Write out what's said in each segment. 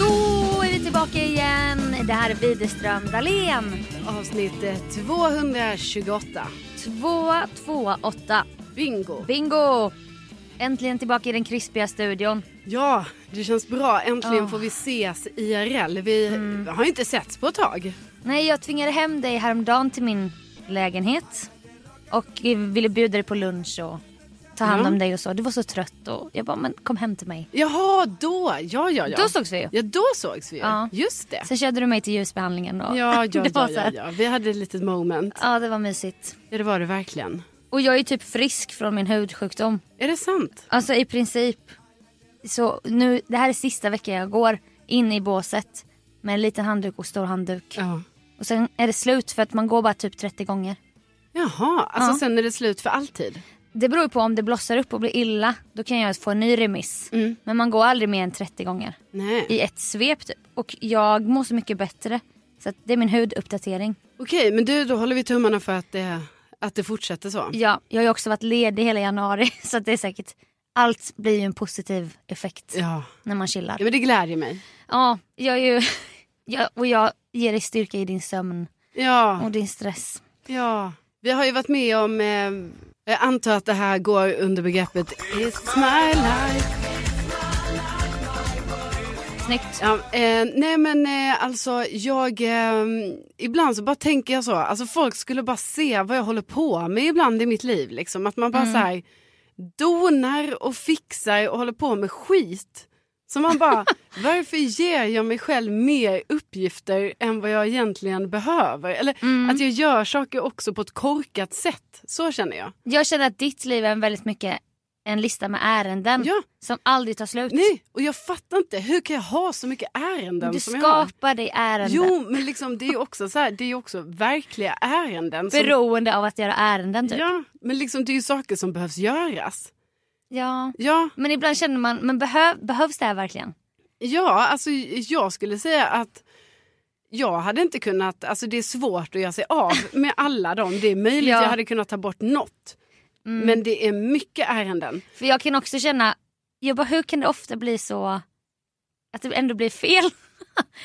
Då är vi tillbaka igen. Det här är Widerström Dahlén. Avsnitt eh, 228. 228. Bingo. Bingo! Äntligen tillbaka i den krispiga studion. Ja, det känns bra. Äntligen Ah. får vi ses IRL. Vi Mm. har ju inte setts på ett tag. Nej, jag tvingade hem dig häromdagen till min lägenhet. Och eh, ville bjuda dig på lunch och ta hand Mm. om dig och så. Du var så trött och jag bara, men kom hem till mig. Jaha, då. Ja, ja, ja. Då sågs vi ju. Ja, då sågs vi ju. Ja. Just det. Sen körde du mig till ljusbehandlingen och Ja, ja, det var ja, så ja, här- ja. Vi hade ett litet moment. ja, det var mysigt. Ja, det var det verkligen. Och jag är typ frisk från min hudsjukdom. Är det sant? Alltså i princip. Så nu, det här är sista veckan jag går in i båset med en liten handduk och stor handduk. Ja. Och sen är det slut för att man går bara typ 30 gånger. Jaha, alltså Ja. sen är det slut för alltid. Det beror ju på om det blossar upp och blir illa. Då kan jag få en ny remiss. Men man går aldrig mer än 30 gånger. Mm. Nej. I ett svep typ. Och jag mår så mycket bättre. Så att det är min huduppdatering. Okej, men du, då håller vi tummarna för att det, att det fortsätter så. Ja, jag har ju också varit ledig hela januari. Så att det är säkert. Allt blir ju en positiv effekt Ja. när man chillar. ja, men det glädjer mig. Ja, jag är ju... Jag, och jag ger dig styrka i din sömn Ja. och din stress. Ja, vi har ju varit med om, eh, jag antar att det här går under begreppet It's my life. Snyggt. Ja, eh, nej men eh, alltså jag, eh, ibland så bara tänker jag så, alltså folk skulle bara se vad jag håller på med ibland i mitt liv. Liksom. Att man bara så här, donar och fixar och håller på med skit. Så man bara, varför ger jag mig själv mer uppgifter än vad jag egentligen behöver? Eller att jag gör saker också på ett korkat sätt. Så känner jag. Jag känner att ditt liv är en väldigt mycket en lista med ärenden Ja. som aldrig tar slut. Nej, och jag fattar inte. Hur kan jag ha så mycket ärenden Du som jag har? skapar dig ärenden Jo, men liksom, det är ju också så här, det är ju också verkliga ärenden. Som, beroende av att göra ärenden. Typ. ja, men liksom, det är ju saker som behövs göras. Ja. Ja, Men ibland känner man, men behöv, behövs det här verkligen? ja, alltså jag skulle säga att jag hade inte kunnat, alltså det är svårt att göra sig av med alla dem. Det är möjligt Ja. Mm. jag hade kunnat ta bort något. Men det är mycket ärenden. För jag kan också känna, jag bara, hur kan det ofta bli så att det ändå blir fel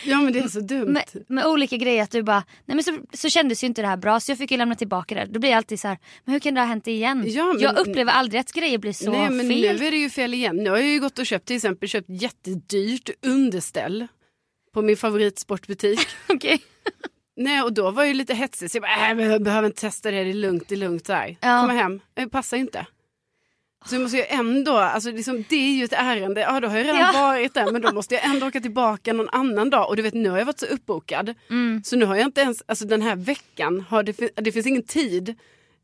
Ja men det är så dumt. med, med olika grejer? Att du bara, nej men så, så kändes ju inte det här bra så jag fick ju lämna tillbaka det. Då blir jag alltid så här, men hur kan det ha hänt igen? Ja, men- jag upplever aldrig att grejer blir så Nej men fel. nu är det ju fel igen. Nu har jag ju gått och köpt till exempel köpt jättedyrt underställ. på min favoritsportbutik. Okej. Nej, och då var jag ju lite hetsig. Så jag bara, äh, men jag behöver inte testa det, det är lugnt, det är lugnt. Så här. Ja. Komma hem, det passar ju inte. Så jag måste jag ändå, alltså liksom, det är ju ett ärende, ja då har jag redan Ja. varit där men då måste jag ändå åka tillbaka någon annan dag. Och du vet nu har jag varit så uppbokad Mm. så nu har jag inte ens, alltså den här veckan, har det, fin- det finns ingen tid.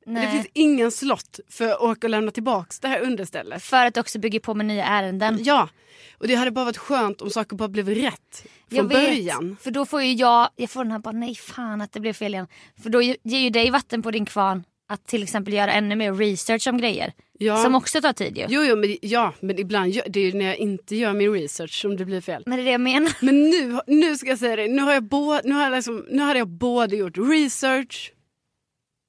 Nej. Det finns ingen slott för att åka och lämna tillbaka det här understället. För att det också bygger på med nya ärenden. Ja, och det hade bara varit skönt om saker bara blev rätt från början. för då får ju jag, jag får den här bara nej fan att det blev fel igen. För då ge- ger ju dig vatten på din kvarn att till exempel göra ännu mer research om grejer. Ja. Som också tar tid ju. Jo, jo men, ja, men ibland gör, det är ju när jag inte gör min research som det blir fel. Men det är det jag menar. Men nu, nu ska jag säga det, nu har jag, bo, nu har jag, liksom, nu har jag både gjort research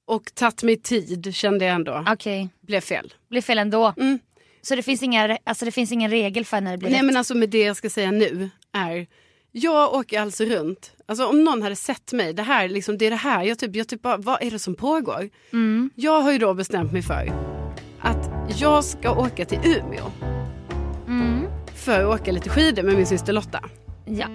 och tagit mig tid kände jag ändå. Okej, Blev fel. blir fel ändå. Mm. Så det finns, inga, re- alltså det finns ingen regel för när det blir Nej rätt. men alltså med det jag ska säga nu är, jag åker alltså runt, alltså om någon hade sett mig, det här liksom, det är det här, jag typ, jag typ bara, vad är det som pågår? Jag har ju då bestämt mig för att jag ska åka till Umeå Mm. för att åka lite skidor med min syster Lotta. Ja.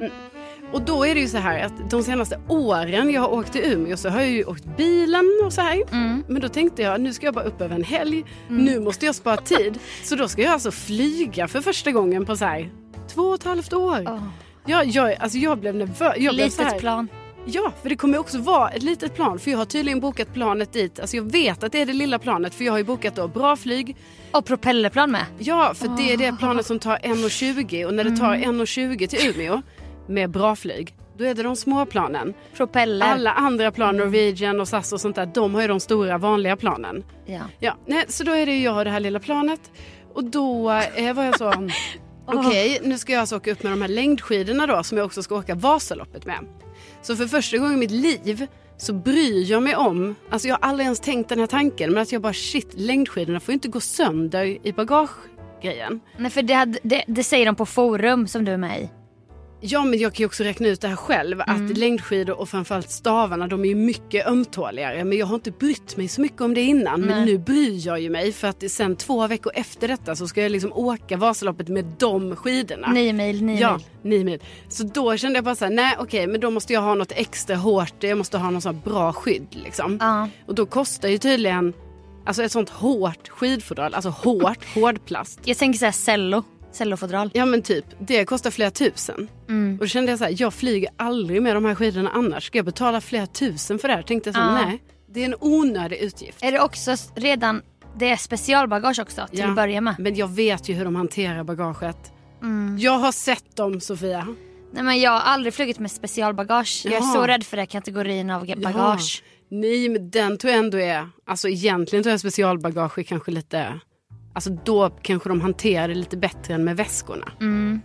Och då är det ju så här att de senaste åren jag har åkt till Umeå så har jag ju åkt bilen och så här. Mm. Men då tänkte jag nu ska jag bara upp över en helg. Nu måste jag spara tid. Så då ska jag alltså flyga för första gången på så här två och ett halvt år. Åh. Jag, jag, alltså jag blev nervös. Jag blev så här, Litet plan. Ja, för det kommer också vara ett litet plan. För jag har tydligen bokat planet dit. Alltså jag vet att det är det lilla planet för jag har ju bokat då bra flyg. Och propellerplan med. Ja, för det är det planet som tar 1.20 och när det tar 1.20 till Umeå med bra flyg, då är det de små planen. Propeller. Alla andra plan, Norwegian och SAS och sånt där, de har ju de stora vanliga planen. Ja. Ja, nej, så då är det ju jag och det här lilla planet. Och då eh, var jag så, okej nu ska jag alltså åka upp med de här längdskidorna då som jag också ska åka Vasaloppet med. Så för första gången i mitt liv så bryr jag mig om, alltså jag har aldrig ens tänkt den här tanken, men att jag bara shit längdskidorna får ju inte gå sönder i bagagegrejen. Nej, för det, hade, det, det säger de på forum som du är med i. Ja men jag kan ju också räkna ut det här själv Mm. att längdskidor och framförallt stavarna de är ju mycket ömtåligare men jag har inte brytt mig så mycket om det innan men nu bryr jag ju mig för att sen två veckor efter detta så ska jag liksom åka Vasaloppet med de skidorna. Nio mil, nio Ja, mil. nio mil. Så då kände jag bara så här, nej okej men då måste jag ha något extra hårt, jag måste ha någon sån här bra skydd liksom. Ja. Och då kostar ju tydligen, alltså ett sånt hårt skidfodral, alltså hårt, hård plast. Jag tänker såhär cello. Cellofodral. Ja men typ, det kostar flera tusen. Mm. Och då kände jag så här, jag flyger aldrig med de här skidorna annars. Ska jag betala flera tusen för det här? Tänkte jag så, Ja. nej. Det är en onödig utgift. Är det också s- redan, det är specialbagage också till Ja. att börja med. Mm. Men jag vet ju hur de hanterar bagaget. Jag har sett dem Sofia. Nej men jag har aldrig flugit med specialbagage. Jag är Jaha. så rädd för den här kategorin av ga- bagage. Ja. Nej men den tror jag ändå är, alltså egentligen tror jag specialbagage är kanske lite, alltså då kanske de hanterar det lite bättre än med väskorna.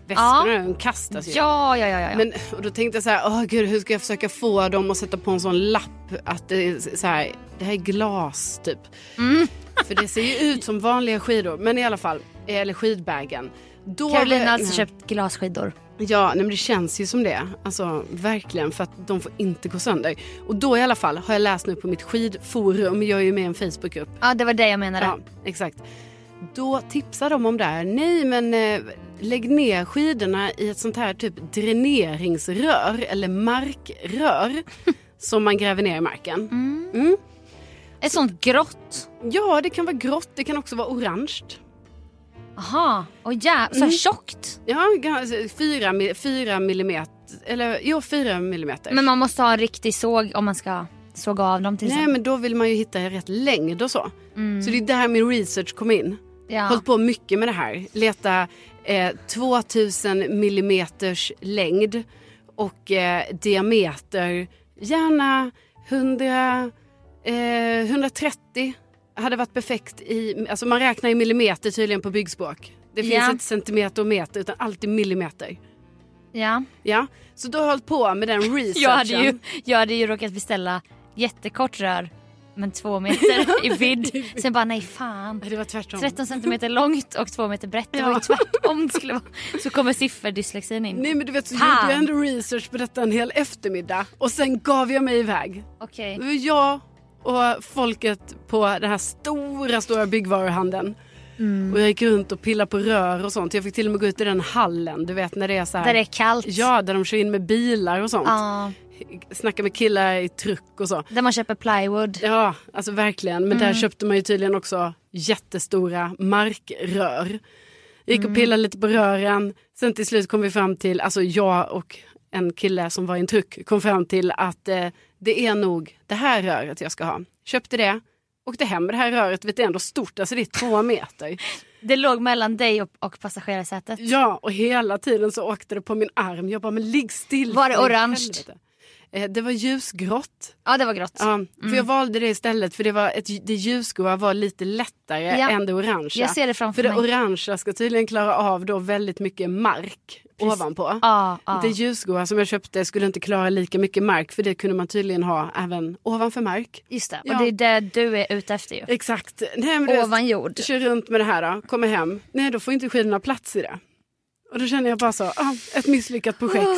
Väskorna de kastas ju. Mm. Ja, ja, ja, ja. ja. Men, och då tänkte jag så här, åh gud, hur ska jag försöka få dem att sätta på en sån lapp att det är så här, det här är glas typ. Mm. För det ser ju ut som vanliga skidor, men i alla fall, eller skidbägen. Då Caroline var- har alltså nej. köpt glasskidor. Ja, nej, men det känns ju som det. Alltså verkligen, för att de får inte gå sönder. Och då i alla fall har jag läst nu på mitt skidforum, jag är ju med i en Facebookgrupp. Ja det var det jag menade. Ja, exakt. Då tipsar de om det här. Nej, men eh, lägg ner skidorna i ett sånt här typ dräneringsrör eller markrör som man gräver ner i marken. Mm. Mm. Ett sånt grått. Ja, det kan vara grått, det kan också vara orange. Jaha, och ja, Mm. så här tjockt. Ja, ga- alltså, fyra, mi- fyra millimeter, eller jo, fyra millimeter. Men man måste ha en riktig såg om man ska såga av dem till Nej, exempel. men då vill man ju hitta rätt längd och så. Mm. Så det är där min research kom in. Ja. hållit på mycket med det här. Leta eh, 2000 millimeters längd och eh, diameter gärna 100, eh, 130 hade varit perfekt i, alltså man räknar i millimeter tydligen på byggspråk. Det finns Ja. inte centimeter och meter utan alltid millimeter. ja. Ja, så då har jag hållit på med den researchen. Jag hade, ju, jag hade ju råkat beställa jättekort rör men två meter i vidd. Sen bara nej fan. Nej, Det var tvärtom. 13 centimeter långt och 2 meter brett. Det var ju tvärtom det skulle vara. Så kommer sifferdyslexin in. Nej men du vet så Fan. gjorde jag ändå research på detta en hel eftermiddag och sen gav jag mig iväg. Okej. Det var jag och folket på den här stora, stora byggvaruhandeln. Mm. Och jag gick runt och pillade på rör och sånt. Jag fick till och med gå ut i den hallen, du vet när det är så här. Där det är kallt. Ja, där de kör in med bilar och sånt. Ja, Snacka med killar i truck och så. där man köper plywood. Ja, alltså verkligen. Men Mm. där köpte man ju tydligen också jättestora markrör. Gick Mm. och pillade lite på rören. Sen till slut kom vi fram till, alltså jag och en kille som var i en truck kom fram till att eh, det är nog det här röret jag ska ha. Köpte det, åkte hem med det här röret. Vet, det är ändå stort, alltså det är två meter. Det låg mellan dig och, och passagerarsätet. Ja, och hela tiden så åkte det på min arm. Jag bara, men ligg still. Var det för orange? helvete. Eh, Det var ljusgrått. Ja, det var grått. Ja, för jag valde det istället för det, var ett, det ljusgråa var lite lättare Ja. än det orangea. Jag ser det framför för det mig. orangea ska tydligen klara av då väldigt mycket mark ovanpå. Ja, ja. Det ljusgråa som jag köpte skulle inte klara lika mycket mark för det kunde man tydligen ha även ovanför mark. Just det. Ja. Och det är det du är ute efter ju. Exakt. Nej, men du vet, Ovan jord. Kör runt med det här då, kommer hem. Nej då får inte skidorna plats i det. Och då känner jag bara så, ah, ett misslyckat projekt.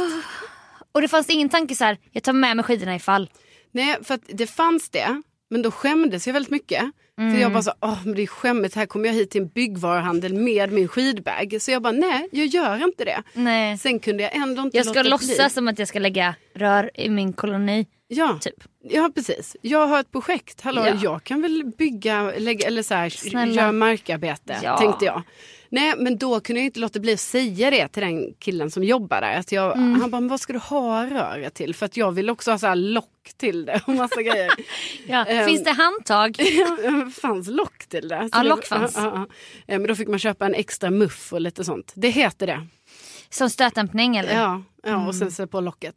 Och det fanns ingen tanke så här, jag tar med mig skidorna ifall. Nej, för att det fanns det, men då skämdes jag väldigt mycket. För Mm. jag bara så, åh men det är skämmigt, här kommer jag hit till en byggvaruhandel med min skidbag. Så jag bara, nej jag gör inte det. Nej. Sen kunde jag ändå inte Jag ska låta låtsas som att jag ska lägga rör i min koloni. ja. typ. Ja, precis. Jag har ett projekt, hallå Ja. jag kan väl bygga, lägga, eller så här, Snälla. göra markarbete, Ja. tänkte jag. Nej, men då kunde jag inte låta bli att säga det till den killen som jobbar där. Att jag, Mm. Han bara, men vad ska du ha röret till? För att jag vill också ha så här lock till det och massa grejer. Ja. Ehm. Finns det handtag? Ja, fanns lock till det. Så Ja, det- lock fanns. Ja, ja, ja. Eh, Men då fick man köpa en extra muff och lite sånt. Det heter det. Som stötdämpning eller? Mm. Ja, ja och sen så på locket.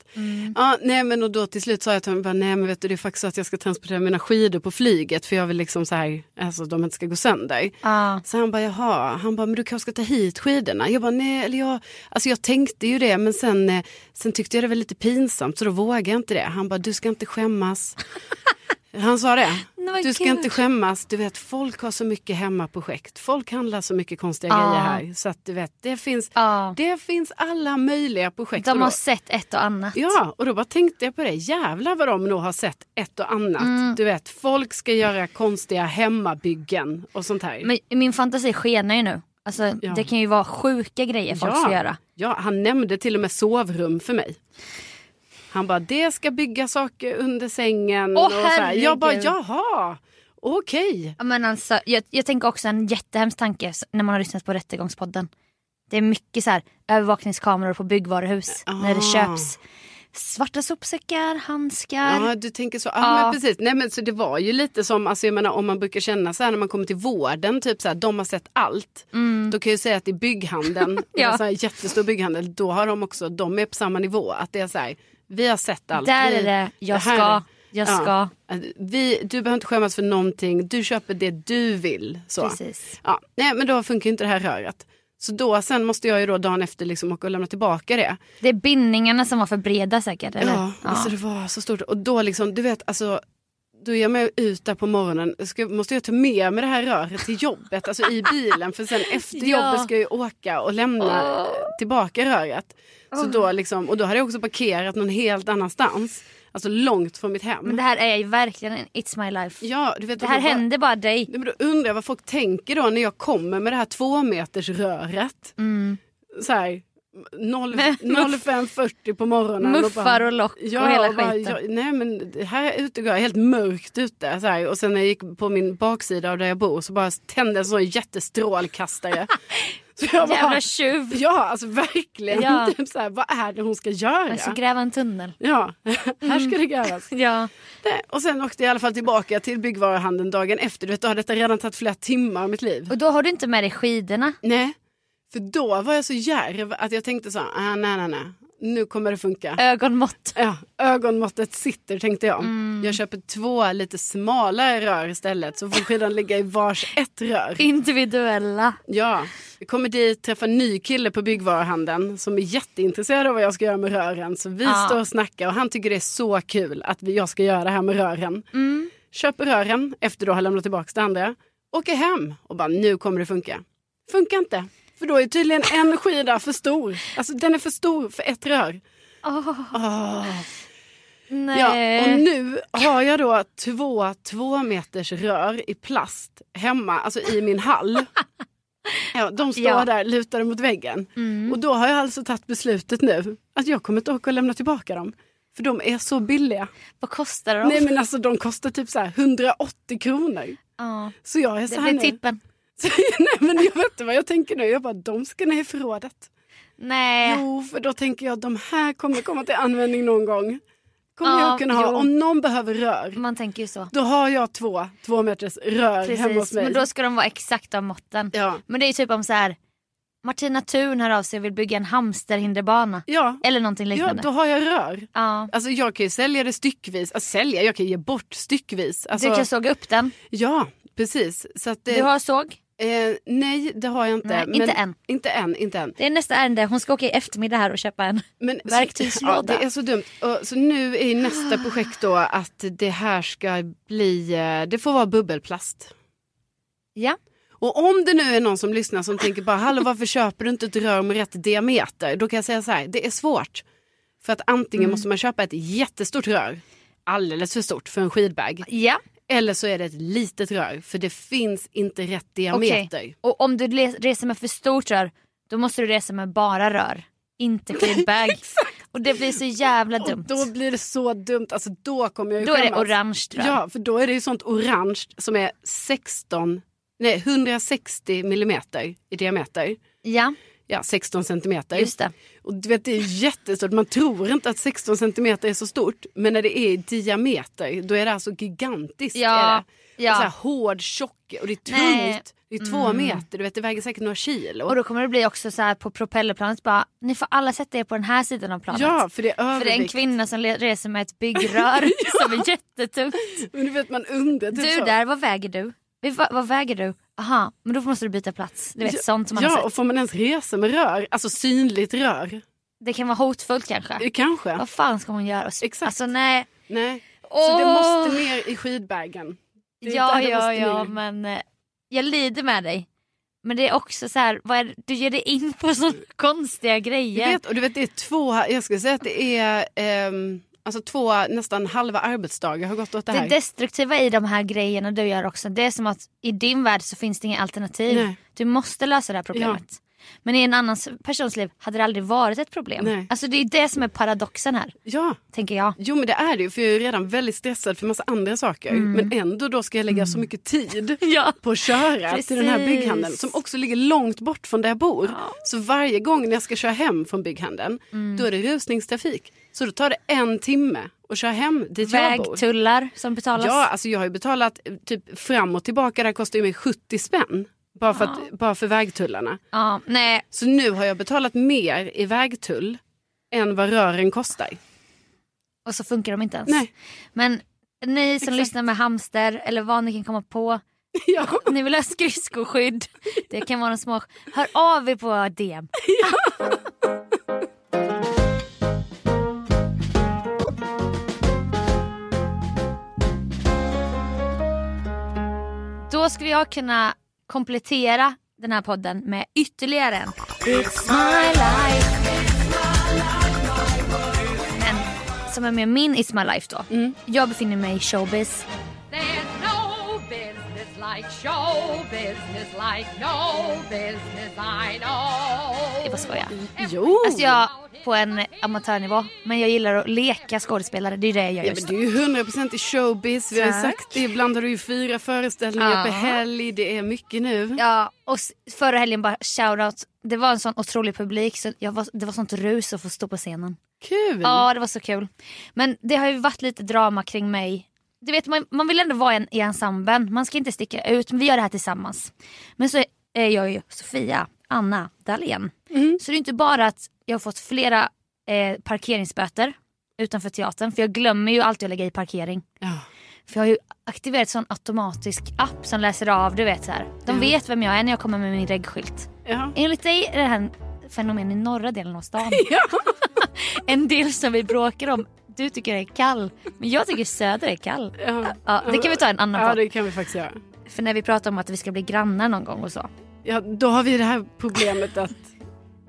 Ja, nej, men och då till slut sa jag till honom, bara, nej men vet du det är faktiskt så att jag ska transportera mina skidor på flyget för jag vill liksom så här, alltså de inte ska gå sönder. Ja. Så han bara, jaha, han bara, men du kanske ska ta hit skidorna? Jag bara, nej, eller jag, alltså jag tänkte ju det, men sen, eh, sen tyckte jag det var lite pinsamt så då vågade jag inte det. Han bara, du ska inte skämmas. Han sa det. Nej, men Du ska gud. inte skämmas, du vet folk har så mycket hemmaprojekt. Folk handlar så mycket konstiga Ja. grejer här. Så att du vet, det finns, Ja. det finns alla möjliga projekt. Och De då- har sett ett och annat. Ja, och då bara tänkte jag på det. Jävlar vad de nog har sett ett och annat. Mm. Du vet, folk ska göra konstiga hemmabyggen och sånt här. Men min fantasi skenar ju nu. Alltså, Ja. Det kan ju vara sjuka grejer folk ska göra. Ja, han nämnde till och med sovrum för mig. Han bara, det ska bygga saker under sängen. Åh, och så här. Jag bara, herregud. jaha, okej. Ja, men alltså, jag, jag tänker också en jättehemsk tanke s- när man har lyssnat på Rättegångspodden. Det är mycket så här, övervakningskameror på byggvaruhus när det Ah. köps svarta sopsäckar, handskar. Ja, du tänker så. Ja, Ja. Men precis. Nej, men så det var ju lite som, alltså, jag menar, om man brukar känna så här när man kommer till vården, typ så här, de har sett allt. Då kan jag ju säga att i bygghandeln, Mm. Ja. ja. så här, jättestor bygghandel, då har de också, de är på samma nivå. Att det är så här, vi har sett allt. Där vi, är det, jag här ska, är- jag Ja. ska. Vi, du behöver inte skämmas för någonting, du köper det du vill. Så. Precis. Ja, nej men då funkar ju inte det här röret. Så då sen måste jag ju då dagen efter liksom åka och lämna tillbaka det. Det är bindningarna som var för breda säkert. Eller? Ja, alltså det var så stort. Och då liksom, du vet, alltså då är jag med ut där på morgonen, ska, måste jag ta med mig det här röret till jobbet, alltså i bilen för sen efter Ja. jobbet ska jag ju åka och lämna tillbaka röret. Så då liksom, och då hade jag också parkerat någon helt annanstans, alltså långt från mitt hem. Men det här är ju verkligen en It's My Life. ja, du vet, det och här då bara- hände bara dig. Nej, men då undrar jag vad folk tänker då när jag kommer med det här tvåmetersröret. Mm. Så här, noll- 05.40 på morgonen. Muffar och lock och hela skiten. jag- nej men det här ute går jag helt mörkt ute. Så här. Och sen när jag gick på min baksida av där jag bor så bara tände en sån jättestrålkastare. så jag Jävla tjuv. ja alltså verkligen. Ja. Typ så här, vad är det hon ska Jag ska göra? Alltså, gräva en tunnel. Ja, här Mm. ska det grävas. Ja. Nej, Och sen åkte jag i alla fall tillbaka till byggvaruhandeln dagen efter. Du vet, då hade detta redan tagit flera timmar av mitt liv. Och då har du inte med dig skidorna. Nej, för då var jag så djärv att jag tänkte så här, ah, nej, nej, nej, nu kommer det funka. Ögonmått. Ja, ögonmåttet sitter tänkte jag. Jag köper två lite smalare rör istället så får skidan ligga i vars ett rör. Individuella. Ja, vi kommer dit, träffar en ny kille på byggvaruhandeln som är jätteintresserad av vad jag ska göra med rören. Så vi Ja. står och snackar och han tycker det är så kul att vi- jag ska göra det här med rören. Köper rören efter då har lämnat tillbaka det andra. Åker hem och bara nu kommer det funka. Funkar inte. För då är tydligen en skida för stor. Alltså den är för stor för ett rör. Nej. Ja, Eh. och nu har jag då två två meters rör i plast hemma, alltså i min hall. Ja, de står Ja. Mm. där lutade mot väggen. Och då har jag alltså tagit beslutet nu att jag kommer inte orka lämna tillbaka dem. För de är så billiga. Vad kostar de? Nej men alltså de kostar typ så här 180 kronor. ja, Så jag är så det här blir nu. tippen. Så, nej men jag vet inte vad jag tänker nu. Jag bara de ska ner i förrådet. Nej. Jo för då tänker jag de här kommer komma till användning någon gång. Kommer Ja, jag kunna ha. jo. Om någon behöver rör. Man tänker ju så. Då har jag två två meters rör hemma hos Precis, mig. men då ska de vara exakt av måtten. Ja. Men det är ju typ om så här Martina Thun hör av sig och vill bygga en hamsterhinderbana. Ja. Eller någonting ja, liknande. då har jag rör. Ja. Alltså jag kan ju sälja det styckvis. Alltså sälja, jag kan ge bort styckvis. Alltså, Du kan såga upp den. Ja, precis. Så att det, Du har såg. eh, nej, det har jag inte. Nej, inte än. Inte än, inte än. Det är nästa ärende. Hon ska åka i eftermiddag här och köpa en. Men, så- Verktygslåda. Ja, det är så dumt. Och, så nu är ju nästa projekt då att det här ska bli, eh, det får vara bubbelplast. Ja. Och om det nu är någon som lyssnar som tänker bara hallå varför köper du inte ett rör med rätt diameter? Då kan jag säga så här, det är svårt. För att antingen Mm. måste man köpa ett jättestort rör, alldeles för stort för en skidbag. Ja. Eller så är det ett litet rör för det finns inte rätt diameter. Okej. Och om du le- reser med för stort rör, då måste du resa med bara rör. Inte skidbag. och det blir så jävla Och dumt. då blir det så dumt, alltså då kommer jag ju Då är det skämmas. orange rör. Ja, för då är det ju sånt orange som är 16, nej 160 millimeter i diameter. ja, Ja, 16 centimeter. just det. Och du vet det är jättestort, man tror inte att 16 centimeter är så stort. Men när det är i diameter då är det alltså gigantiskt. Ja, Är det. ja. Och Så här hård, tjock och det är tungt. Nej. Mm. Det är två meter, du vet det väger säkert några kilo. Och då kommer det bli också så här på propellerplanet bara, ni får alla sätta er på den här sidan av planet. ja, för det är För det är en övervikt. kvinna som le- reser med ett byggrör som är jättetungt. Men du vet man undrar. typ Du så. där, vad väger du? Vi- Va, vad väger du? Aha, men då måste du byta plats. Du vet sånt som man ja, har och sett. får man ens resa med rör? Alltså synligt rör? Det kan vara hotfullt kanske. Eh, Kanske. Vad fan ska hon göra? Sp- Exakt. Alltså nej. Nej. Så det Åh. måste ner i skidbagen. Det är Ja, där det ja, måste ja, ner. men eh, jag lider med dig. Men det är också så här, vad är, det- du ger dig in på såna konstiga Du grejer. vet, och du vet, det är två, jag skulle säga att det är ehm, alltså två, nästan halva arbetsdagar har gått åt det det här. destruktiva i de här grejerna du gör också, det är som att i din värld så finns det inga alternativ. Nej. Du måste lösa det här problemet. Men i en annan persons liv hade det aldrig varit ett problem. Nej. Alltså det är det som är paradoxen här, Ja, tänker jag. jo men det är det ju, för jag är ju redan väldigt stressad för massa andra saker. Men ändå då ska jag lägga så mycket tid Mm. Ja. på att köra till den här Precis. bygghandeln som också ligger långt bort från där jag bor. Så varje gång när jag ska köra hem från bygghandeln Mm. då är det rusningstrafik. Så då tar det en timme att köra hem dit jag bor. Vägtullar som betalas. Ja, alltså jag har ju betalat eh, typ fram och tillbaka, det här kostar ju mig 70 spänn. Bara för, att, bara för vägtullarna. Ja, nej. Så nu har jag betalat mer i vägtull än vad rören kostar. Och så funkar de inte ens. Nej. Men ni som lyssnar med hamster eller vad ni kan komma på. Ja. Ni vill ha skridskoskydd. Det kan vara en små... Hör av er på DM. Då skulle jag kunna komplettera den här podden med ytterligare en. It's my life. Men som är med min It's my life då. Jag befinner mig i showbiz. Det var skoja. Jo, Alltså jag på en amatörnivå. Men jag gillar att leka skådespelare. Det är det jag gör ja, just men nu. du är ju 100% i showbiz. Vi har ju Tack. sagt det, ibland har du ju fyra föreställningar Ja. per helg. Det är mycket nu. Ja, och s- förra helgen bara shoutout. Det var en sån otrolig publik så jag var, det var sånt rus att få stå på scenen. Kul! Ja, det var så kul. Men det har ju varit lite drama kring mig. Du vet, man, man vill ändå vara en, i ensemblen. Man ska inte sticka ut, men vi gör det här tillsammans. Men så är jag ju Sofia Anna Dahlén. Mm. Så det är inte bara att jag har fått flera eh, parkeringsböter utanför teatern. För jag glömmer ju alltid att lägga i parkering. Ja. För jag har ju aktiverat sån automatisk app som läser av, du vet så här. De vet vem jag är när jag kommer med min reggskylt. Ja. Enligt dig är det här en fenomen i norra delen av stan. Ja. En del som vi bråkar om. Du tycker är kall, men jag tycker söder är kall. Ja. Ja, det kan vi ta en annan ja, podd. det kan vi faktiskt göra. För när vi pratar om att vi ska bli grannar någon gång och så. Ja, då har vi det här problemet att Att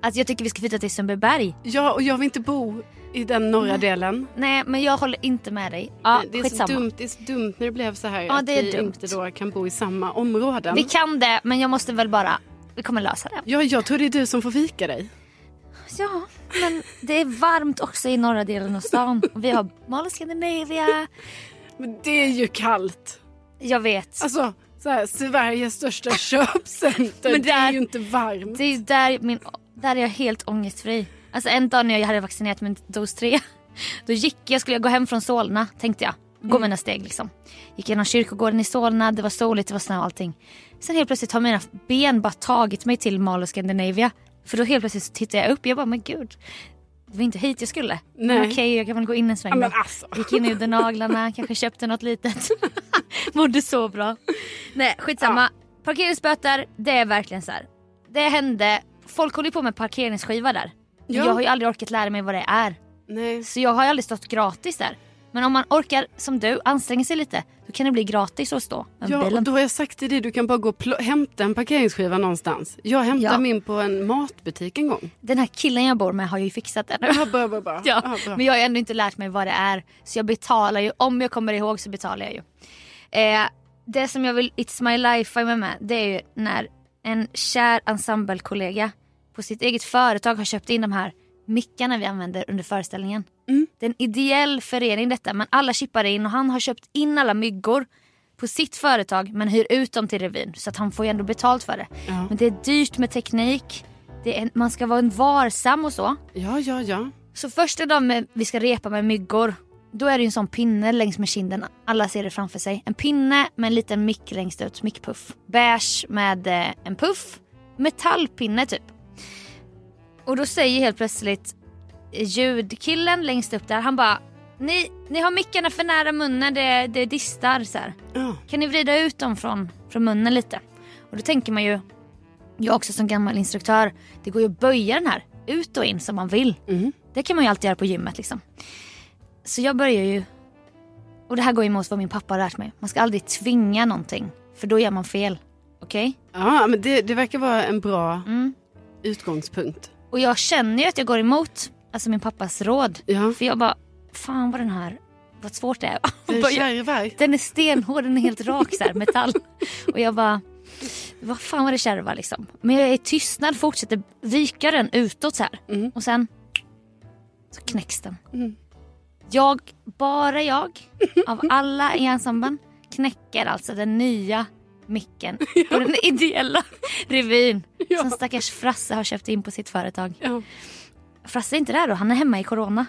Alltså, jag tycker vi ska flytta till Sundbyberg. jag och jag vill inte bo i den norra delen. Nej, men jag håller inte med dig. Ja, det, är så skitsamma. dumt, det är så dumt när det blev så här Ja, att det är vi dumt. inte då kan bo i samma områden. Vi kan det, men jag måste väl bara Vi kommer lösa det. Ja, jag tror det är du som får vika dig. Ja, men det är varmt också i norra delen av stan. Och vi har Mall of Scandinavia. Men det är ju kallt. Jag vet. Alltså, så här, Sveriges största köpcenter. Men det är där- ju inte varmt. Det är ju där, min, där är jag helt ångestfri. Alltså en dag när jag hade vaccinerat min dos 3. Då gick jag, skulle jag gå hem från Solna tänkte jag. Gå Mm. mina steg liksom. Gick genom kyrkogården i Solna, det var soligt, det var snö och allting. Sen helt plötsligt har mina ben bara tagit mig till Mall of Scandinavia. För då helt plötsligt så tittar jag upp, jag bara men gud. Det var inte hit jag skulle. Men Nej. Okej, jag kan väl gå in en sväng Ja, då. men alltså. Gick in under naglarna, kanske köpte något litet. Mådde så bra. Nej skitsamma. Parkeringsböter, det är verkligen så här. Det hände, folk håller ju på med parkeringsskiva där. Ja. Jag har ju aldrig orkat lära mig vad det är. Nej. Så jag har ju aldrig stått gratis där. Men om man orkar, som du, anstränger sig lite. Då kan det bli gratis att stå med Ja, och bilen. då har jag sagt till dig, du kan bara gå och pl- hämta en parkeringsskiva någonstans. Jag hämtade Ja. min på en matbutik en gång. Den här killen jag bor med har ju fixat det nu. Ja, bra, bra, bra. Ja, Ja, bra. men jag har ju ändå inte lärt mig vad det är. Så jag betalar ju, om jag kommer ihåg så betalar jag ju. Eh, det som jag vill It's My Life med med, det är ju när en kär ensemblekollega på sitt eget företag har köpt in de här mickarna vi använder under föreställningen. Mm. Det är en ideell förening detta, men alla chippar in och han har köpt in alla myggor på sitt företag men hyr ut dem till revyn så att han får ju ändå betalt för det. Ja. Men det är dyrt med teknik, det är en, man ska vara en varsam och så. Ja, ja, ja. Så första dagen med, vi ska repa med myggor, då är det ju en sån pinne längs med kinden. Alla ser det framför sig. En pinne med en liten mick längst ut, mickpuff. Beige med eh, en puff. Metallpinne typ. Och då säger helt plötsligt ljudkillen längst upp där, han bara ni, ni har mickarna för nära munnen, det, det distar så här. Ja. Kan ni vrida ut dem från, från munnen lite? Och då tänker man ju, jag också som gammal instruktör, det går ju att böja den här ut och in som man vill. Det kan man ju alltid göra på gymmet liksom. Så jag börjar ju, och det här går ju emot vad min pappa har lärt mig. Man ska aldrig tvinga någonting, för då gör man fel. Okej? ja men det, det verkar vara en bra Mm. utgångspunkt. Och jag känner ju att jag går emot alltså min pappas råd. Ja. För jag bara, fan vad den här, vad svårt det är. Det är Bara, en kärvverk. Den är stenhård, den är helt rak så här, metall. Och jag bara, vad fan var det kärva liksom. Men jag är i tystnad, fortsätter vika den utåt så här. Och sen så knäcks den. Jag, bara jag, av alla i ensemblen, knäcker alltså den nya micken på den ideella revyn som stackars Frasse har köpt in på sitt företag. Ja. Frasse är inte där då, han är hemma i corona.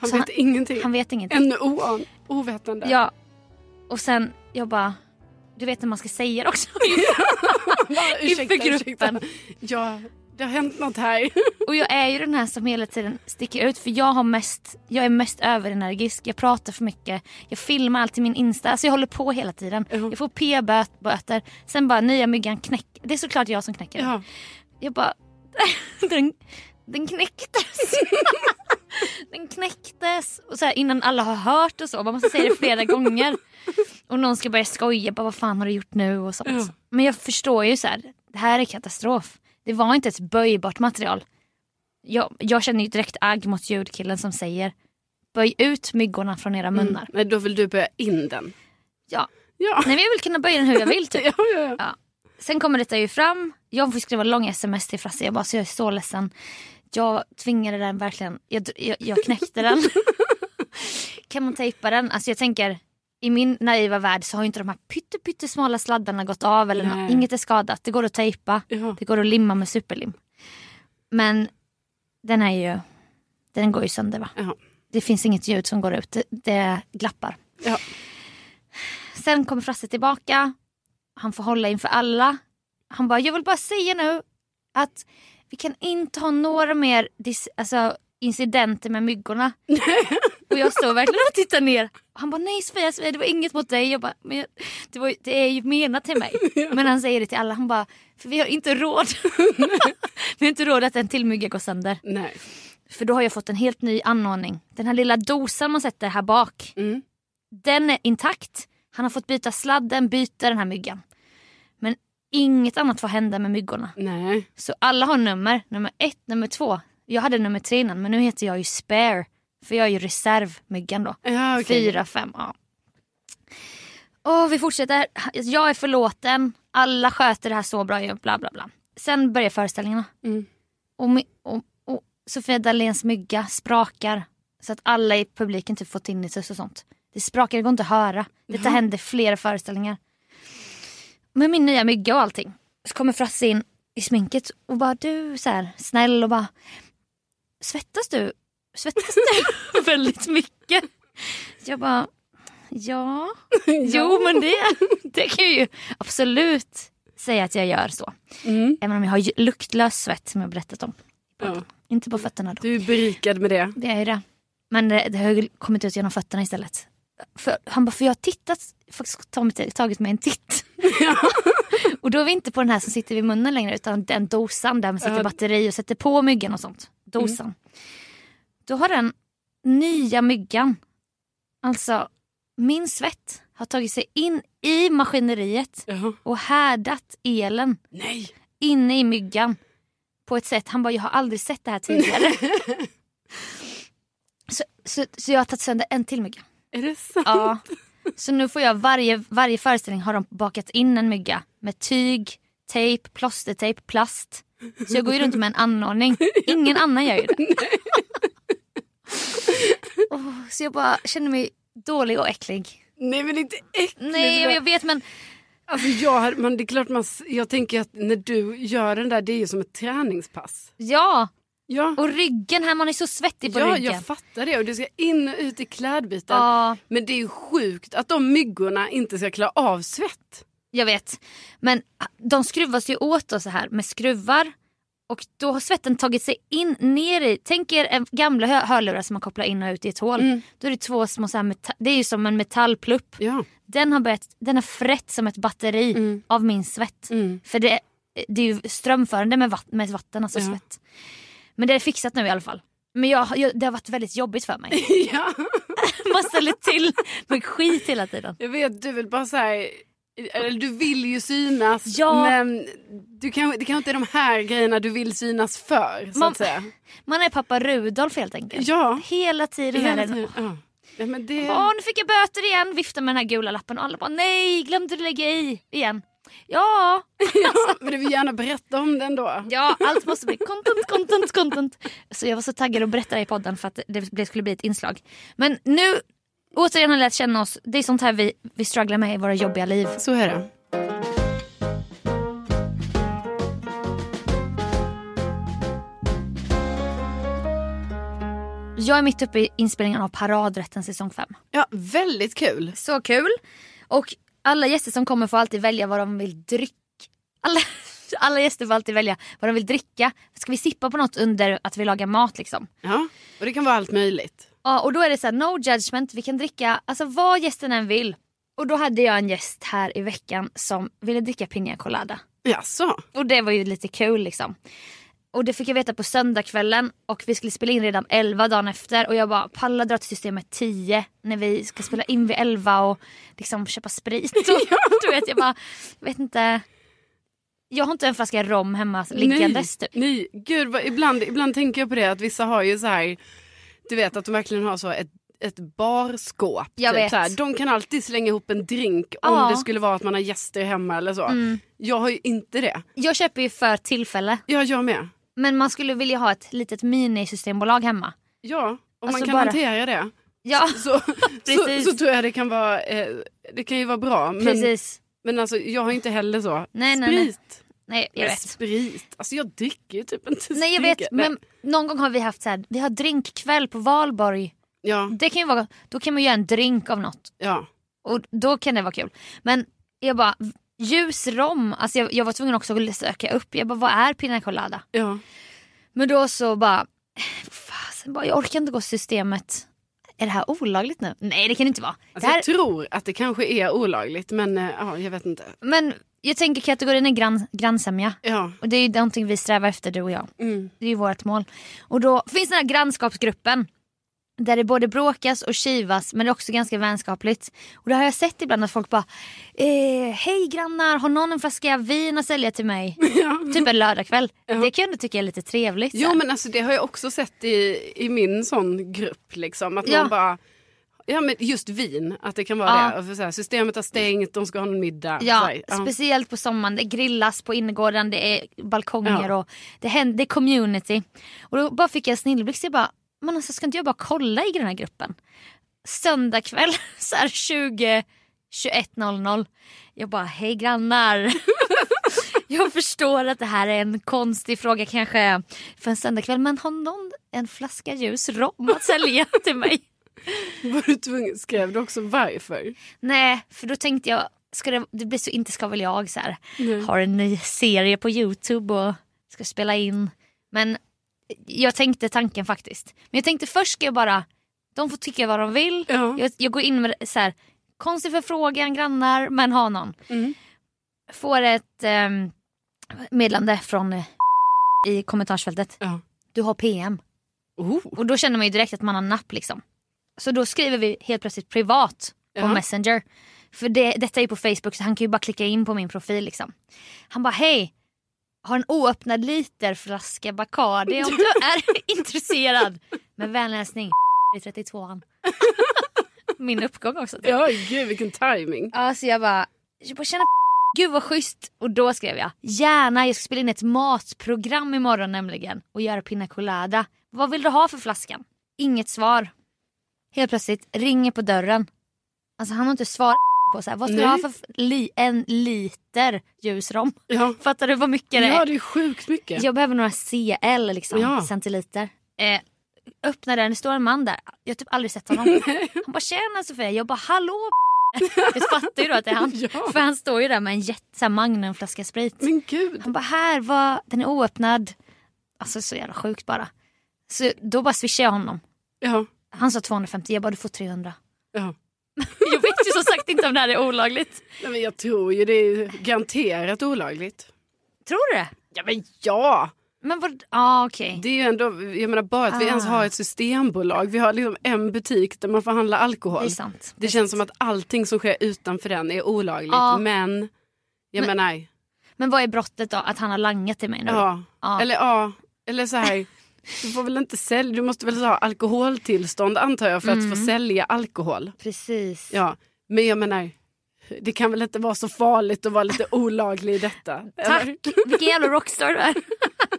Han Så vet ingenting. Han vet ingenting. Ännu oan, ovetande. Ja. Och sen, jag bara... Du vet när man ska säga det också. Bara, ursäkta, inför ursäkta. gruppen. Ja, det har hänt något här. Och jag är ju den här som hela tiden sticker ut för jag har mest, jag är mest överenergisk, jag pratar för mycket, jag filmar allt i min Insta, alltså jag håller på hela tiden. Jag får p-böter, sen bara nya myggan knäck. Det är såklart jag som knäcker den. Ja. Jag bara, den, den knäcktes. den knäcktes. Och så här, innan alla har hört och så. Man måste säga det flera gånger. Och någon ska börja skoja. Bara, vad fan har du gjort nu? Och sånt. Men jag förstår ju så här. Det här är katastrof. Det var inte ett böjbart material. Jag, jag känner ju direkt agg mot ljudkillen som säger böj ut myggorna från era munnar. Nej, Mm. då vill du börja in den. Ja. Ja. Nej, men jag vill kunna böja den hur jag vill. Typ. Ja, ja, ja. Ja. Sen kommer detta ju fram. Jag får skriva långa sms till Frasse. Jag bara, så jag är så ledsen. Jag tvingade den verkligen. Jag, jag, jag knäckte den. kan man tejpa den? Alltså jag tänker, i min naiva värld så har ju inte de här pytte, pyttesmala sladdarna gått av. Eller nå- Nej. inget är skadat. Det går att tejpa. Ja. Det går att limma med superlim. Men den är ju, den går ju sönder va? Ja. Det finns inget ljud som går ut. Det, det glappar. Ja. Sen kommer Frasse tillbaka. Han får hålla inför alla. Han bara, jag vill bara säga nu att vi kan inte ha några mer dis- alltså, incidenter med myggorna. och jag står verkligen och tittar ner. Han bara, nej Sofia, Sofia det var inget mot dig. Jag bara, men jag, det, var, ju- det är ju menat till mig. Men han säger det till alla. Han bara, för vi har inte råd. vi har inte råd att en till mygga går sönder. Nej. För då har jag fått en helt ny anordning. Den här lilla dosan man sätter här bak. Mm. Den är intakt. Han har fått byta sladden, byta den här myggan. Men inget annat får hända med myggorna. Nej. Så alla har nummer. Nummer ett, nummer två. Jag hade nummer tre innan men nu heter jag ju spare. För jag är ju reservmyggan då. Ja, Ah, okej. Fyra, fem, ja. Och vi fortsätter. Jag är förlåten. Alla sköter det här så bra. ju, Bla, bla, bla. Sen börjar föreställningarna. Mm. Och, mi- och, och Sofia Dalens mygga sprakar så att alla i publiken typ får tinnitus och sånt. Det sprakar, det går inte att höra. Detta Jaha. hände flera föreställningar. Med min nya mygga och allting. Så kommer Frasse in i sminket och bara du så här snäll och bara svettas du? Svettas du väldigt mycket? Jag bara ja. Jo men det, det kan jag ju absolut säga att jag gör så. Mm. Även om jag har ju- luktlös svett som jag berättat om. Ja. Inte på fötterna då. Du är berikad med det. Det är ju det. Men det, det har ju kommit ut genom fötterna istället. För, han bara, för jag har tittat, faktiskt tagit, tagit mig en titt. och då är vi inte på den här som sitter vid munnen längre utan den dosan där man sätter Ja. batteri och sätter på myggan och sånt. Dosan. Då har den nya myggan, alltså min svett har tagit sig in i maskineriet Jaha. och härdat elen Nej. inne i myggan på ett sätt. Han bara, jag har aldrig sett det här tidigare. så, så, så jag har tagit sönder en till mygga. Är det sant? Ja. Så nu får jag varje, varje föreställning har de bakat in en mygga med tyg, tejp, plåstertejp, plast. Så jag går ju runt med en anordning. Ingen annan gör ju det. Åh, så jag bara känner mig dålig och äcklig. Nej men inte äckligt. Nej, jag, jag vet men Alltså jag, har- men det är klart man, s- jag tänker att när du gör den där det är ju som ett träningspass. ja. Ja, Och ryggen här, man är så svettig på ja ryggen. jag fattar det och du ska in och ut i klädbyten. Ja. Men det är ju sjukt att de myggorna inte ska klara av svett. Jag vet. Men ah, de skruvas ju åt då så här med skruvar. Och då har svetten tagit sig in ner i, tänk er en gamla hö- hörlurar som man kopplar in och ut i ett hål. Mm. Då är det två små så här, meta- det är ju som en metallplupp. Ja. Den har börjat, den har frätt som ett batteri Mm. av min svett. För det, det är ju strömförande med, vatt- med vatten, alltså Ja. svett. Men det är fixat nu i alla fall. Men jag, jag, det har varit väldigt jobbigt för mig. ja. Man ställer till med skit hela tiden. Jag vet, du vill bara så här... Eller du vill ju synas Ja. men du kan, det kanske inte är de här grejerna du vill synas för. Så Man- att säga. Man är pappa Rudolf helt enkelt. Ja. Hela tiden är Hela det alltså? tiden, typ- ja. Ja, men det... Åh, nu fick jag böter igen. Vifta med den här gula lappen och alla bara nej, glömde du lägga i igen. Ja, Ja, men du vill gärna berätta om den då. ja, allt måste bli content, content, content. Så jag var så taggad att berätta det i podden för att det det skulle bli ett inslag. Men nu, återigen har jag lärt känna oss. Det är sånt här vi, vi strugglar med i våra jobbiga liv. Så är det. Jag är mitt uppe i inspelningen av Paradrätten säsong 5. Ja, väldigt kul. Så kul. Och alla gäster som kommer får alltid välja vad de vill dricka. Alla, alla gäster får alltid välja vad de vill dricka. Ska vi sippa på något under att vi lagar mat liksom? Ja, och det kan vara allt möjligt. Ja, och då är det så här, no judgment, vi kan dricka alltså vad gästen än vill. Och då hade jag en gäst här i veckan som ville dricka piña colada. Jaså? Och det var ju lite kul liksom. Och det fick jag veta på söndagskvällen och vi skulle spela in redan 11 dagen efter och jag bara pallar dra till systemet 10 när vi ska spela in vid 11 och liksom köpa sprit. Och, du vet jag bara, vet inte. Jag har inte en flaska rom hemma liggandes typ. Nej, nej. Gud, vad, ibland, ibland tänker jag på det att vissa har ju så här, du vet att de verkligen har så ett, ett barskåp. typ Jag vet. Så här, de kan alltid slänga ihop en drink Ja. Mm. om det skulle vara att man har gäster hemma eller så. Jag har ju inte det. Jag köper ju för tillfälle Ja, jag med. men man skulle vilja ha ett litet mini-systembolag hemma. Ja, om Alltså man kan bara- hantera det Ja, så, så, Precis. så tror jag det kan vara, eh, det kan ju vara bra. Men, precis. men alltså, jag har inte heller så. Nej, nej, sprit. nej. Nej, jag vet. Sprit. Alltså jag dricker ju typ inte Nej jag sprit. vet men någon gång har vi haft så här, vi har drinkkväll på valborg. Ja, Det kan ju vara, då kan man göra en drink av något ja. och då kan det vara kul. Men jag bara, ljus rom, alltså jag, jag var tvungen också att söka upp, jag bara vad är pina colada? ja. Men då så bara, fasen bara jag orkar inte gå till systemet. Är det här olagligt nu? Nej det kan det inte vara. Det Alltså, här, Jag tror att det kanske är olagligt men eh, ja, jag vet inte. men jag tänker kategorin är grann, grannsämja. Ja. Och det är ju någonting vi strävar efter du och jag. Mm. Det är ju vårt mål. Och då finns den här grannskapsgruppen. Där det både bråkas och kivas men det är också ganska vänskapligt. Och det har jag sett ibland att folk bara eh, Hej grannar, har någon en flaska vin att sälja till mig? Typ en lördagkväll. Det kan jag ändå tycka är lite trevligt. så Jo här. men alltså det har jag också sett i, i min sån grupp liksom. Att Ja. man bara, Ja men just vin, att det kan vara Ja. det. Och för så här, systemet har stängt, de ska ha någon middag. så Ja, här, ja. speciellt på sommaren. Det grillas på innergården, det är balkonger Ja. och det, händer, det är community. Och då bara fick jag en snilleblick så jag bara, men alltså ska inte jag bara kolla i den här gruppen? Söndag kväll så här 20, 21.00. Jag bara, hej grannar. jag förstår att det här är en konstig fråga kanske för en söndagkväll men har någon en flaska ljus rom att sälja till mig? Var du tvungen, skrev du också varför? Nej, för då tänkte jag, ska det, det blir så inte ska väl jag så här. Har en ny serie på Youtube och ska spela in. Men jag tänkte tanken faktiskt. Men jag tänkte först ska jag bara, de får tycka vad de vill. Ja. Jag, jag går in med så här, konstig förfrågan, grannar, men ha någon. Mm. Får ett ehm, meddelande från eh, i kommentarsfältet. Ja. Du har PM. Oh. Och då känner man ju direkt att man har napp liksom. Så då skriver vi helt plötsligt privat på Ja. Messenger. För det, detta är ju på Facebook så han kan ju bara klicka in på min profil liksom. Han bara hej, har en oöppnad literflaska Bacardi om du är intresserad. Med vänlig hälsning i 32an. min uppgång också. typ. Ja gud vilken timing. Ja, så jag bara, jag bara känner gud vad schysst. Och då skrev jag, gärna, jag ska spela in ett matprogram imorgon nämligen och göra pina colada. Vad vill du ha för flaskan? Inget svar. Helt plötsligt ringer på dörren. Alltså han har inte svarat på så här, vad ska du Nej. ha för f- li- en liter ljusrom? Ja. Fattar du vad mycket det är? Ja det är sjukt mycket. Jag behöver några CL liksom, Ja. centiliter. Eh, öppnar den, det står en man där. Jag har typ aldrig sett honom. Han bara tjena Sofia, jag bara hallå Du fattar ju då att det är han. Ja. För han står ju där med en jätte magnumflaska sprit. Men gud. Han bara här, vad, den är oöppnad. Alltså så jävla sjukt bara. Så då bara swishade jag honom. Ja. Han sa 250, jag bara du får 300. ja. Jag vet ju som sagt inte om det här är olagligt. Nej, men jag tror ju det är garanterat olagligt. Tror du det? Ja men ja. Men vad, ah, okej. Det är ju ändå, jag menar bara att vi Ah. ens har ett systembolag. Vi har liksom en butik där man får handla alkohol. Det är sant. Det känns som att allting som sker utanför den är olagligt. Ja. Men jag Men- menar, Men vad är brottet då? Att han har langat till mig nu? ja. Ja. Eller ja, eller så här. Du får väl inte sälja, du måste väl ha alkoholtillstånd antar jag för att Mm. få sälja alkohol. Precis. Ja, men jag menar, det kan väl inte vara så farligt att vara lite olaglig i detta? Tack! eller? Vilken jävla rockstar du är.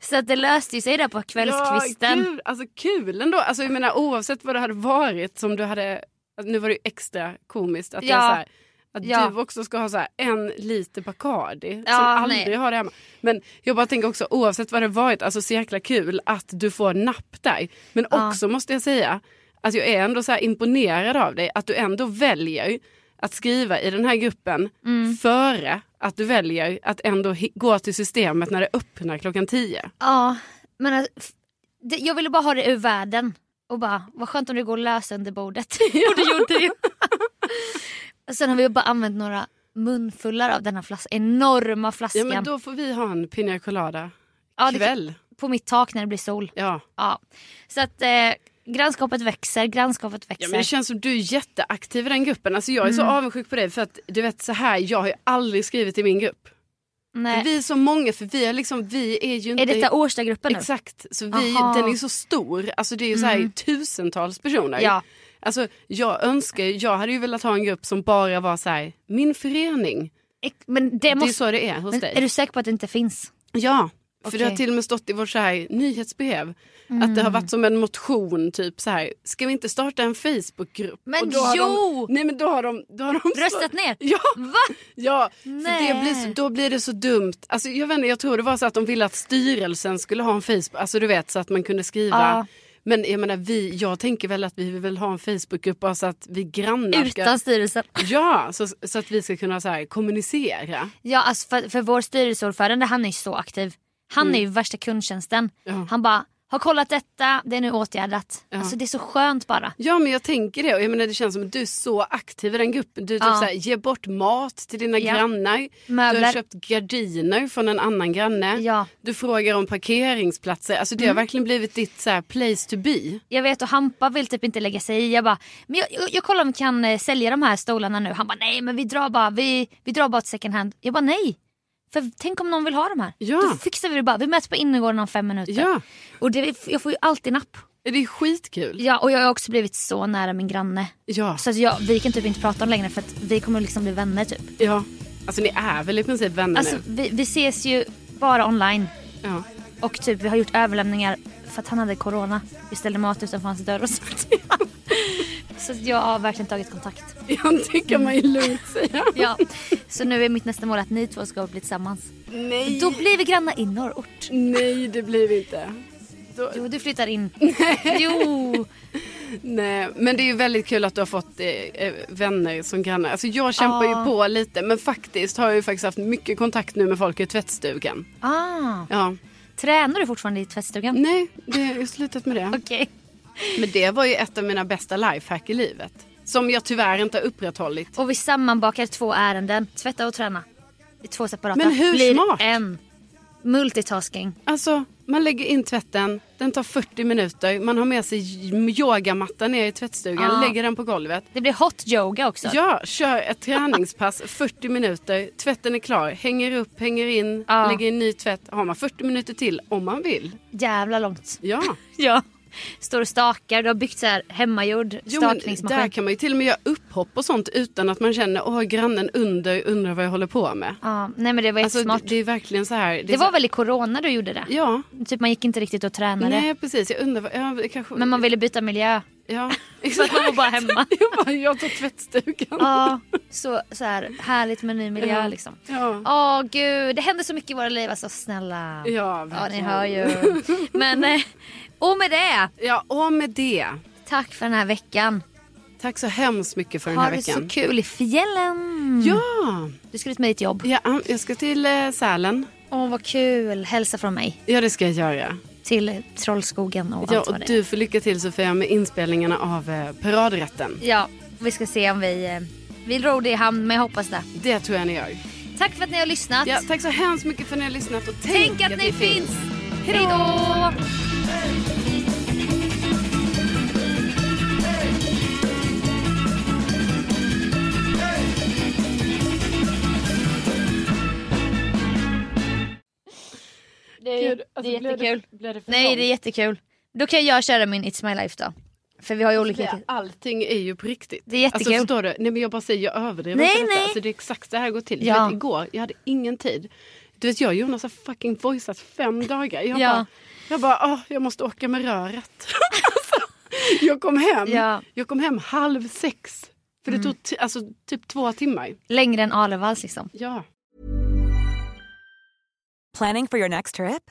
Så att det löste ju sig där på kvällskvisten. Ja, kul, alltså kul ändå. Alltså, jag menar, oavsett vad det hade varit som du hade... att Nu var det ju extra komiskt att, Ja. jag, så här, att Ja. du också ska ha så här, en liter Bacardi Ja, som aldrig nej. har det hemma. Men jag bara tänker också oavsett vad det varit, alltså så jäkla kul att du får napp där. Men Ja. också måste jag säga att jag är ändå så här imponerad av dig att du ändå väljer att skriva i den här gruppen Mm. före att du väljer att ändå hi- gå till systemet när det öppnar klockan tio. Ja, men alltså, f- det, jag ville bara ha det ur världen. Och bara, vad skönt om det går att lösa under bordet. och det gjorde det ju. Och Sen har vi bara använt några munfullar av den här flas- enorma Ja flaskan. men då får vi ha en piña colada Ja, det- kväll. På mitt tak när det blir sol. Ja. Ja. Så att eh, grannskapet växer, grannskapet växer. ja men det känns som du är jätteaktiv i den gruppen. Alltså jag är Mm. så avundsjuk på dig för att du vet så här, jag har ju aldrig skrivit i min grupp. Nej. Vi är så många för vi är liksom, vi är ju inte... eh, Är detta Årstagruppen nu? Exakt, så vi, Aha. den är ju så stor. Alltså det är ju så här tusentals personer. Mm. Ja. Alltså jag önskar, jag hade ju velat ha en grupp som bara var så här, min förening. Ex- Men det Det är måste... så det är hos men dig. är du säker på att det inte finns? Ja, för det har Okej. Mm. till och med stått i vårt så här nyhetsbrev att det har varit som en motion, typ så här, ska vi inte starta en Facebookgrupp? Men Och då har jo! De, nej men då har de... Då har de Röstat ner? Ja, Va? ja Nej. för det blir så, då blir det så dumt. Alltså, jag, vet inte, jag tror det var så att de ville att styrelsen skulle ha en Facebook, alltså du vet så att man kunde skriva. Ja. Men jag menar, vi, jag tänker väl att vi vill ha en Facebookgrupp bara så att vi grannar Utan ska... styrelsen. Ja, så, så att vi ska kunna så här, kommunicera. Ja, alltså för, för vår styrelseordförande han är ju så aktiv. Han är ju värsta kundtjänsten. Mm. Ja. Han bara, har kollat detta, det är nu åtgärdat. Alltså det är så skönt bara. Ja men jag tänker det och jag menar, det känns som att du är så aktiv i den gruppen. Du typ Ja. så här, ger bort mat till dina Ja. grannar. Du Möbler. har köpt gardiner från en annan granne. Ja. Mm. Du frågar om parkeringsplatser. Alltså det har verkligen blivit ditt så här, place to be. Jag vet och Hampa vill typ inte lägga sig i. Jag bara, men jag, jag, jag kollar om vi kan eh, sälja de här stolarna nu. Han bara, nej men vi drar bara, vi, vi drar bara till second hand. Jag bara, nej. För tänk om någon vill ha de här. Ja. Då fixar vi det bara. Vi möts på innergården om fem minuter. Ja. Och det, jag får ju alltid napp. Det är skitkul. Ja, och jag har också blivit så nära min granne. Ja. Så att jag, vi kan typ inte prata om längre för att vi kommer liksom bli vänner typ. ja. Alltså ni är väl i princip vänner Alltså nu? vi, vi ses ju bara online. Ja. Och typ vi har gjort överlämningar för att han hade corona. Vi ställde mat utanför hans dörr och sånt. så att jag har verkligen tagit kontakt. ja, det kan man ju lugnt säga. Ja. Så nu är mitt nästa mål att ni två ska bli tillsammans. Nej. Då blir vi grannar i norrort. Nej, det blir vi inte. Då... Jo, du flyttar in. Jo! Nej, men det är ju väldigt kul att du har fått eh, eh, vänner som grannar. Alltså jag kämpar Ah. ju på lite men faktiskt har jag ju faktiskt haft mycket kontakt nu med folk i tvättstugan. Ah, Ja. tränar du fortfarande i tvättstugan? Nej, det jag har slutat med det. Okej. Men det var ju ett av mina bästa lifehack i livet. Som jag tyvärr inte har upprätthållit. Och vi sammanbakar två ärenden, tvätta och träna. I två separata. Men hur Blir smart? en. Multitasking. Alltså, man lägger in tvätten, den tar 40 minuter, man har med sig j- yogamatta ner i tvättstugan, Ah. lägger den på golvet. Det blir hot yoga också. Ja, kör ett träningspass, 40 minuter, tvätten är klar, hänger upp, hänger in, Ja. lägger in ny tvätt. Har man 40 minuter till om man vill. Jävla långt. Ja. Ja. Står och stakar. Du har byggt så här hemmagjord Jo, men där stakningsmaskin. kan man ju till och med göra upphopp och sånt utan att man känner åh grannen under undrar vad jag håller på med. Ja, nej men det var Alltså, jättesmart. det, det är verkligen så här. det, är så var här, väl i corona du gjorde det? Ja, Typ man gick inte riktigt och tränade. nej precis. Jag undrar vad... Ja, det kanske, Men man ville byta miljö. Ja, För att man var bara hemma. jag bara, jag tar tvättstugan. Ja, så, så här härligt med ny miljö Ja. liksom. Ja. Åh gud, det händer så mycket i våra liv alltså snälla. Ja, ja ni verkligen. hör ju. Men, eh, och med det, Ja, och med det. tack för den här veckan. Tack så hemskt mycket för den Ha här det veckan. så kul i fjällen. Ja, Du ska ut med ditt jobb. ja, jag ska till eh, Sälen. Åh vad kul, hälsa från mig Ja, det ska jag göra. till eh, Trollskogen och Ja, allt och vad det är. du får lycka till Sofia med inspelningarna av eh, paradrätten. Ja, vi ska se om vi, eh, vi ror det i hamn men jag hoppas det. Det tror jag ni gör. Tack för att ni har lyssnat. Ja, tack så hemskt mycket för att ni har lyssnat och Tänk att ni finns. Hej då! Det är, Gud, alltså, det är blev det- jättekul. blev det för Nej långt? det är jättekul. Då kan jag köra min It's My Life då. För vi har ju olika... Alltså, Det, allting är ju på riktigt. Det är jättekul. Alltså, förstår du? Nej, men jag bara säger, jag överdriver Nej, inte detta. nej. Alltså, det är exakt så här det går till. Ja. Jag vet, igår, jag hade ingen tid. Du vet, jag och Jonas har fucking voicat fem dagar. Jag Ja. bara, jag, bara "Ah, jag måste åka med röret. Alltså, jag, kom hem, Ja. Mm. jag kom hem halv sex. För det tog t- alltså, typ två timmar. Längre än Alevals liksom. Ja. Planning for your next trip?